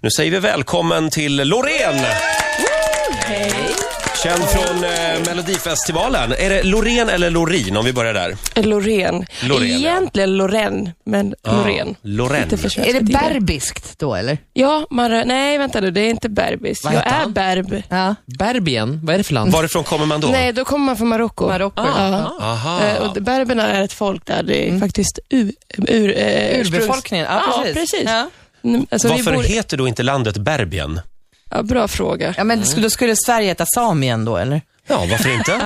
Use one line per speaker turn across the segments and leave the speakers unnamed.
Nu säger vi välkommen till Loreen!
Hej.
Känd från eh, Melodifestivalen. Är det Loreen eller Lorin om vi börjar där?
Loreen.
Loreen, ja.
Egentligen Loreen, men Loreen.
Loreen.
Inte försvenskat
Är det
tidigare.
berbiskt då eller?
Ja, man rör, nej vänta nu, det är inte berbis.
Vad
Jag
heter
är
han?
berb.
Ja.
Berbien, vad är det för land?
Varifrån kommer man då?
Nej, då kommer man från Marocko.
Marocko,
Ja.
Aha.
Eh, Och berberna är ett folk där, det är faktiskt ur, ur, eh,
Urbefolkningen, ja,
Ja,
precis.
precis.
Ja.
ursprungs- Alltså, vi
Varför
bor,
heter då inte landet Berbien?
ja, bra fråga.
Ja, men skulle, då skulle Sverige heta Samien då eller?
Ja, varför inte?
Hur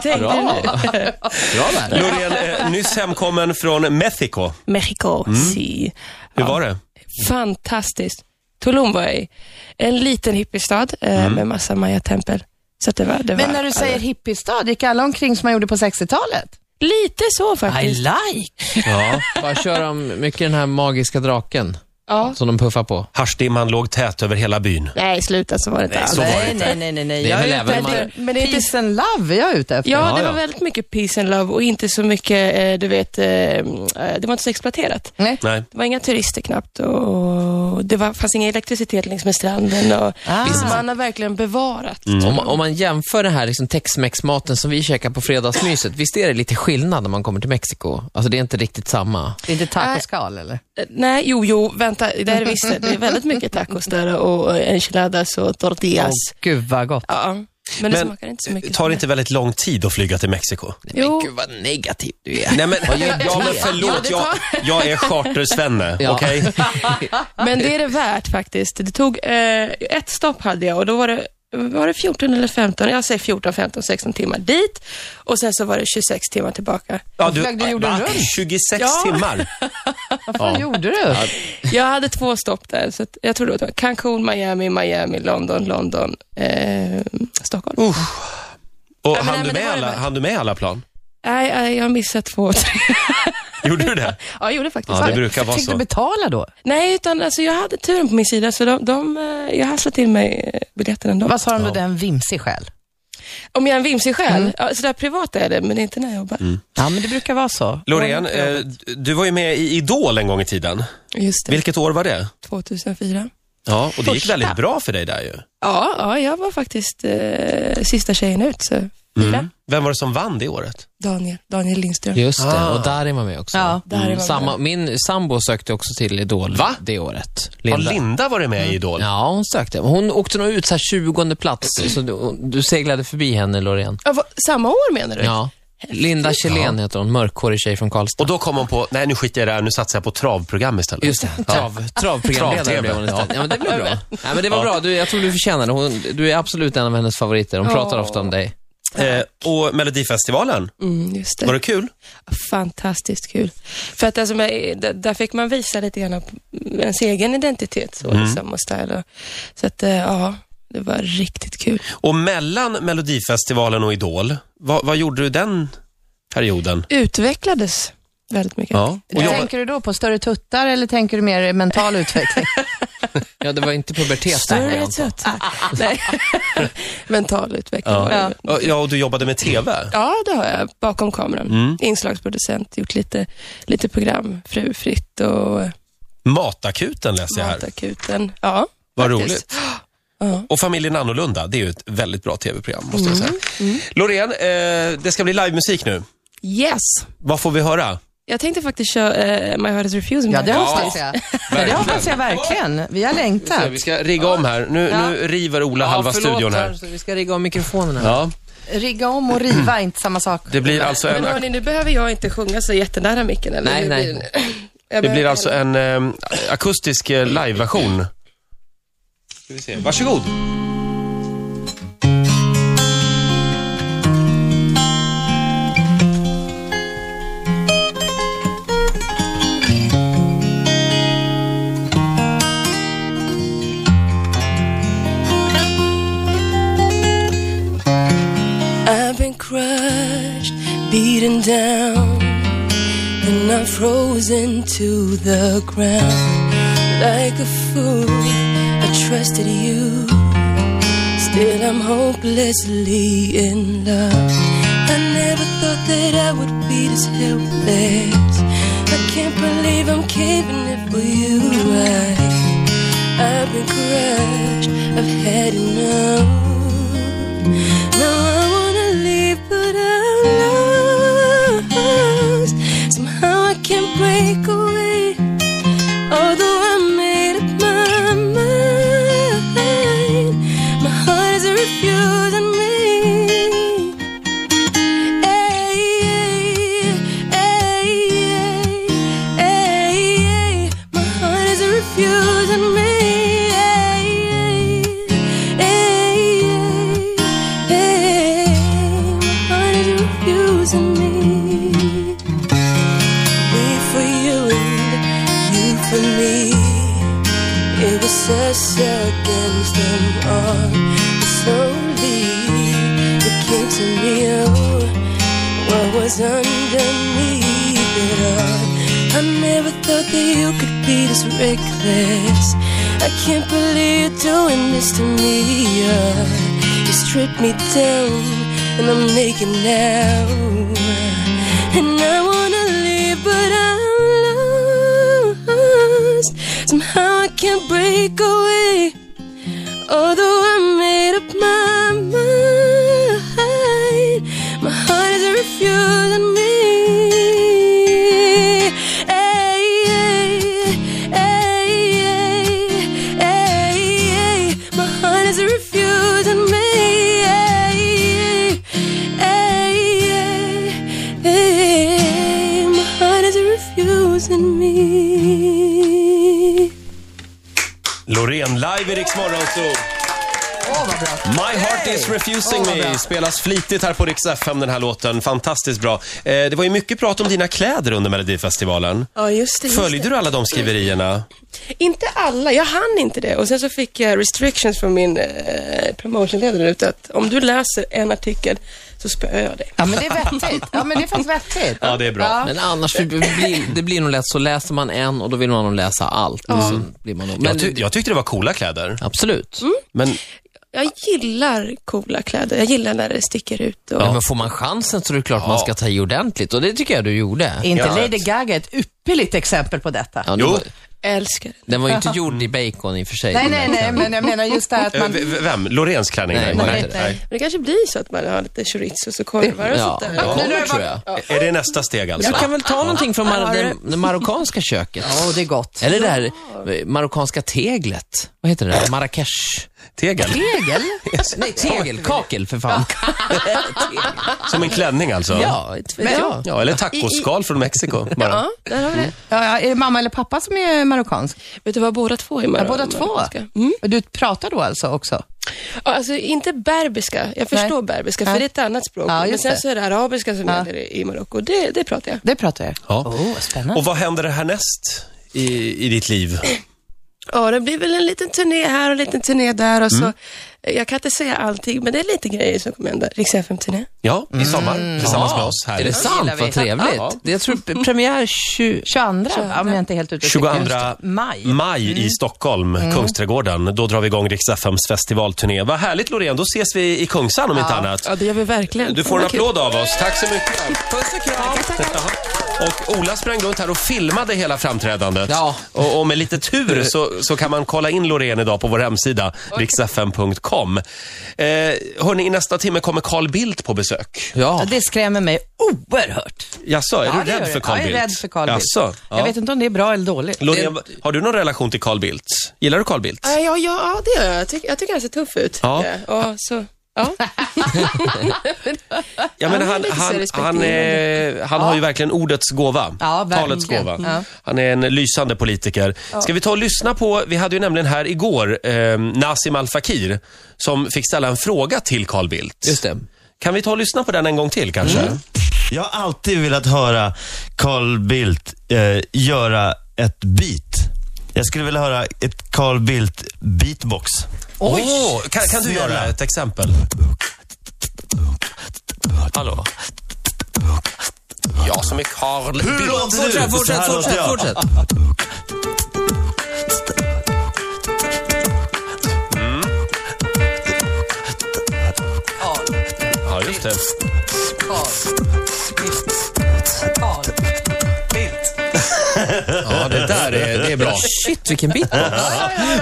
tänkte du nu?
Bra där.
Loreen, eh, nyss hemkommen från Mexiko.
Mexico, si.
Hur var det?
Fantastiskt. Tulum var jag i. En liten hippiestad eh, med massa maya-tempel. Så att det var, det
Men
var
när du säger hippiestad, gick alla omkring som man gjorde på 60-talet?
Lite så
I
faktiskt.
like!
Ja.
Bara kör de mycket den här magiska draken
Ja.
som de puffar på?
Haschdimman låg tät över hela byn.
Nej, sluta så var det inte alls.
Så var det
nej,
inte.
nej, nej, nej, nej.
Det är
Jag
väl
är ute
även
efter
man- Men det är inte-
peace and love, är jag ute efter.
Ja, det
ja.
var väldigt mycket peace and love och inte så mycket, eh, du vet, eh, eh, det var inte så exploaterat.
Nej.
Nej.
Det var inga turister knappt och det var, fanns ingen elektricitet längs med stranden. Och
Ah.
så man har verkligen bevarat.
Om, man- om man jämför den här liksom Tex-Mex-maten som vi käkar på fredagsmyset, visst är det lite skillnad när man kommer till Mexiko? Alltså det är inte riktigt samma.
Det är inte tacoskal eller?
Eh, Nej, jo, jo, vänta, det är visst det. Det är väldigt mycket tacos där och eh, enchiladas och tortillas.
Gud vad gott.
Ja, men det
Men,
smakar inte så mycket.
Tar
som
det inte väldigt lång tid att flyga till Mexiko?
Jo.
Men gud vad negativ du är.
Nej men,
Vad gör
ja,
det?
men
Ja,
förlåt,
det
jag,
tar-
jag är chartersvenne.
Ja.
Okej?
Men det är det värt faktiskt. Det tog, eh, ett stopp hade jag och då var det, var det 14 eller 15, jag säger 14, 15, 16 timmar dit och sen så var det 26 timmar tillbaka.
Ja,
flög du jorden
va?
runt?
26
Ja.
timmar?
Vad gjorde du?
Jag hade två stopp där, så att jag tror det var Cancun, Miami, Miami, London, London, eh, Stockholm.
Och
men
hann,
nej,
du
men det
med
var det
alla,
värt.
hann du med alla plan?
Nej, nej, jag har missat två, tre.
Gjorde du det?
Ja, jag gjorde faktiskt
Ja, det
det.
brukar vara
Fick du
så.
betala då?
Nej, utan alltså, jag hade turen på min sida, så de, de, eh, jag hasslade till mig eh, biljetten ändå.
Vad sa de då, den vimsig själ?
Om jag är en vimsig själ, ja, sådär privat är det, men inte när jag jobbar.
Mm.
Ja, men det brukar vara så.
Loreen, eh, du var ju med i Idol en gång i tiden.
Just det,
Vilket år var det?
2004.
Ja, och det gick
Första.
väldigt bra för dig där ju.
Ja, ja jag var faktiskt eh, sista tjejen ut. Så. Fyra.
Mm. Vem var det som vann det året?
Daniel, Daniel Lindström.
Just det,
Ah.
och Darin var med också. Mm.
Ja,
Darin var med.
Samma, min sambo sökte också till Idol
Va?
det året.
Linda. Mm. Har Linda varit med i Idol?
Ja, hon sökte. Hon åkte nog ut så här 20 plats, så du, du seglade förbi henne, Loreen.
Ja, vad- samma år menar du?
Ja. Linda Källén heter hon, mörkhårig tjej från Karlstad.
Och då kom hon på, nej nu skiter jag i det här, nu satsar jag på travprogram istället.
Just det, trav, travprogramledare
Trav-tv.
blev hon istället. Ja, men det blev bra. Ja, men det var bra, du, jag tror du förtjänar det. Hon, du är absolut en av hennes favoriter. Hon pratar
Åh.
ofta om dig.
Eh, och Melodifestivalen,
Mm, just det.
var det kul?
Fantastiskt kul. För att alltså, med- d- där fick man visa lite grann på ens egen identitet så,
Mm.
liksom, och style. och- Så att, eh, ja, det var riktigt kul.
Och mellan Melodifestivalen och Idol, vad, vad gjorde du den perioden?
Utvecklades väldigt mycket.
Ja, och jag,
Tänker du då på större tuttar eller tänker du mer mental utveckling?
Ja, det var inte pubertet. där,
Större
Anton.
trött. Nej. Mental utveckling. var det.
ja. ja, och du jobbade med TV.
Ja, det har jag. Bakom kameran.
Mm.
Inslagsproducent, gjort lite, lite program. Fru Fritt och
Matakuten läser jag här.
Matakuten. Ja,
Vad
faktiskt.
roligt. Och Familjen Annorlunda, det är ju ett väldigt bra tv-program måste jag säga. Loreen, eh, det ska bli livemusik nu.
Yes.
Vad får vi höra?
Jag tänkte faktiskt köra eh, My Heart Is Refusing.
Ja, det
har...
hoppas jag. Det hoppas jag verkligen. Vi har
Så,
längtat.
Vi ska rigga
Rigga om här. Nu,
Ja.
nu river Ola halva
förlåt,
studion här.
så Vi ska rigga om mikrofonerna.
Ja,
Rigga om och riva är inte samma sak.
det blir alltså
Men
en,
hörni, nu behöver jag inte sjunga så jättenära micken. Eller?
Nej,
Nu
nej.
blir-
det
Jag behöver-
blir alltså en eh, akustisk eh, liveversion. Ska vi se. Varsågod.
I've been crushed, beaten down, and I'm frozen to the ground. Like a fool, I trusted you. Still, I'm hopelessly in love. I never thought that I would be this helpless. I can't believe I'm caving it for you right. I've been crushed, I've had enough. Now I wanna leave, but I'm lost. Somehow I can't break away. Although I made up my mind, my heart is refusing me. Ay, ay, ay, ay, ay, ay. My heart is refusing me. Ay, ay, ay, ay, ay. My heart is refusing me me for you and you for me. It was us against them all. But slowly it came to me, oh, what was underneath it all. I never thought that you could be this reckless. I can't believe you're doing this to me. Oh, you stripped me down, and I'm naked now. And I wanna leave, but I'm lost. Somehow I can't break away. Although I made up my mind, my heart is refusing me. Ay, ay, ay, ay, ay, ay. My heart is refusing me. Ay, ay, ay, ay. My heart is refusing me.
Loreen live i Rix Morgonzoo. My heart is refusing me spelas flitigt här på Rix FM, den här låten. Fantastiskt bra. Eh, det var ju mycket prat om dina kläder under Melodifestivalen.
Ja, just det. Just det.
Följde du alla de skriverierna?
Inte alla, jag hann inte det. Och sen så fick jag restrictions från min eh, promotionledare där ute att om du läser en artikel så spöar jag dig.
Ja, men det är vettigt. Ja, men det är faktiskt vettigt.
Ja, det är bra.
Ja.
Men annars, det blir, det blir nog lätt så läser man en och då vill man nog läsa allt. Och så blir man nog, men,
Jag, ty- jag tyckte det var coola kläder.
absolut.
Men
Jag gillar coola kläder. Jag gillar när det sticker ut. Och...
Ja, men får man chansen så är det klart man ska ta i ordentligt och det tycker jag du gjorde.
Är inte
Ja.
Lady Gaga ett ypperligt exempel på detta?
Ja, den,
Jo.
var,
Jag älskar det.
den var ju inte gjord i bacon i och för sig.
Nej,
den
nej,
där
nej,
klämmen.
men jag menar just det här att
eh,
man...
v- v- vem? Loreens klänning?
Nej,
var det
nej,
inte.
Men det kanske blir så att man har lite chorizos och korvar och
Ja,
sånt
det
där.
kommer tror jag.
Är det nästa steg alltså?
Du kan väl ta någonting från mar-
Ja, det-
det, det marockanska köket?
Åh, det är gott.
Eller det här eh, marockanska teglet. Vad heter det där? Marrakesh?
Tegel?
Tegel?
Nej, tegel. Kakel för fan.
Som en klänning alltså?
Ja, inte vet
Men-
jag.
Ja, eller tacoskal från Mexiko bara.
Ja, där har vi det.
Ja, ja, är det mamma eller pappa som är marockansk?
Vet du vad båda två är mar-
Ja, båda två.
marockanska?
Och du pratar då alltså också?
Ja, Alltså inte berbiska, jag förstår berbiska för
Nej.
det är ett annat språk.
Ja,
men
just
sen
det.
så är det arabiska som
Ja.
gäller i i Marocko, det, det pratar jag.
Det pratar jag.
Ja.
Oh, spännande.
Och vad händer härnäst i, i ditt liv?
Ja, det blir väl en liten turné här och en liten turné där och så.
Mm.
Jag kan inte säga allting, men det är lite grejer som kommer hända. Riks turné
Ja, i sommar
Mm.
tillsammans med oss här.
Är det sant?
gillar vi.
Vad trevligt.
Ja.
Det- Jag tror pre- premiär 20...
22, om jag inte är helt ute och
22
cyklar. Just det, maj. Mm.
maj i Stockholm, Kungsträdgården. Då drar vi igång Rix FMs festivalturné. Vad härligt Loreen, då ses vi i Kungsan om inte annat.
Ja, det gör vi verkligen.
Du får en
Vad kul.
applåd av oss. Tack så mycket.
Puss och kram.
Jaha. Och Ola sprang runt här och filmade hela framträdandet.
Ja.
Och, och med lite tur så, så kan man kolla in Loreen idag på vår hemsida, riksfm.com. Eh, hörni, i nästa timme kommer Carl Bildt på besök.
Ja.
Ja, det skrämmer mig oerhört.
Jaså, är
Ja,
du
det
rädd
gör
för
jag.
Carl
Ja,
Bildt?
Jag är rädd för Carl Bildt.
Jaså, ja.
Jag vet inte om det är bra eller dåligt.
Loreen, har du någon relation till Carl Bildt? Gillar du Carl
Eh,
Bildt?
Ja, ja, ja, det gör jag. Jag tycker, jag tycker han ser tuff ut.
Ja.
Och så, ja.
Ja, men
Han är lite
han,
så
han, han,
respekterande.
eh, han har ju verkligen ordets gåva.
Ja, verkligen.
Talets gåva.
Ja.
Han är en lysande politiker. Ska vi ta och lyssna på, vi hade ju nämligen här igår eh, Nassim Al Fakir som fick ställa en fråga till Carl Bildt.
Just det.
Kan vi ta och lyssna på den en gång till kanske?
Jag har alltid velat höra Carl Bildt eh, göra ett beat. Jag skulle vilja höra ett Carl Bildt beatbox.
Oj! kan, kan du göra ett exempel? Hallå? Jag som är Carl Bildt.
Hur låter du?
Fortsätt,
Så
fortsätt,
här låter
fortsätt,
jag.
fortsätt.
Ja, just det.
Carl Bildt. Carl Bildt.
där är, det är bra.
Shit, vilken beatbox.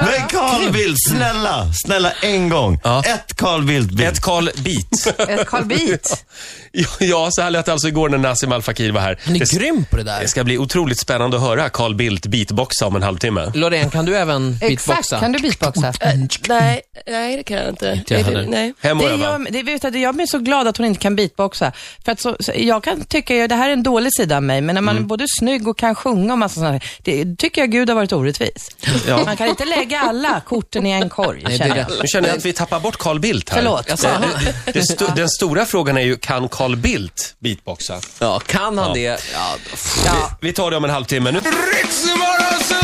Men Carl Bildt, snälla, snälla en gång.
Ja.
Ett Carl Bildt-beat.
Ett Carl Beat.
Ett Eh, Carl Bildt.
Ja, så här lät det alltså igår när Nassim Al Fakir var här.
Han är
Det,
grym på det där.
det ska bli otroligt spännande att höra Carl Bildt beatboxa om en halvtimme.
Loreen, kan du även beatboxa?
Exakt, kan du beatboxa?
Nej, nej, det kan jag inte.
jag
Är det-
heller.
nej.
Hem och
Det
öva.
gör, det, vet du, jag blir så glad att hon inte kan beatboxa. För att så, så, jag kan tycka, ju- det här är en dålig sida av mig, men när man är både snygg och kan sjunga och massa sådana det tycker jag Gud har varit orättvis. Man kan inte lägga alla korten i en korg,
Nej, det är
känner jag.
rätt.
Nu känner jag att vi tappar bort Carl Bildt här.
Förlåt.
Jag sa, han,
Det sto- den stora frågan är ju, kan Carl Bildt beatboxa?
ja, kan han det? Ja, pff.
Vi tar det om en halvtimme. Nu.
Ritzmorgonzoo!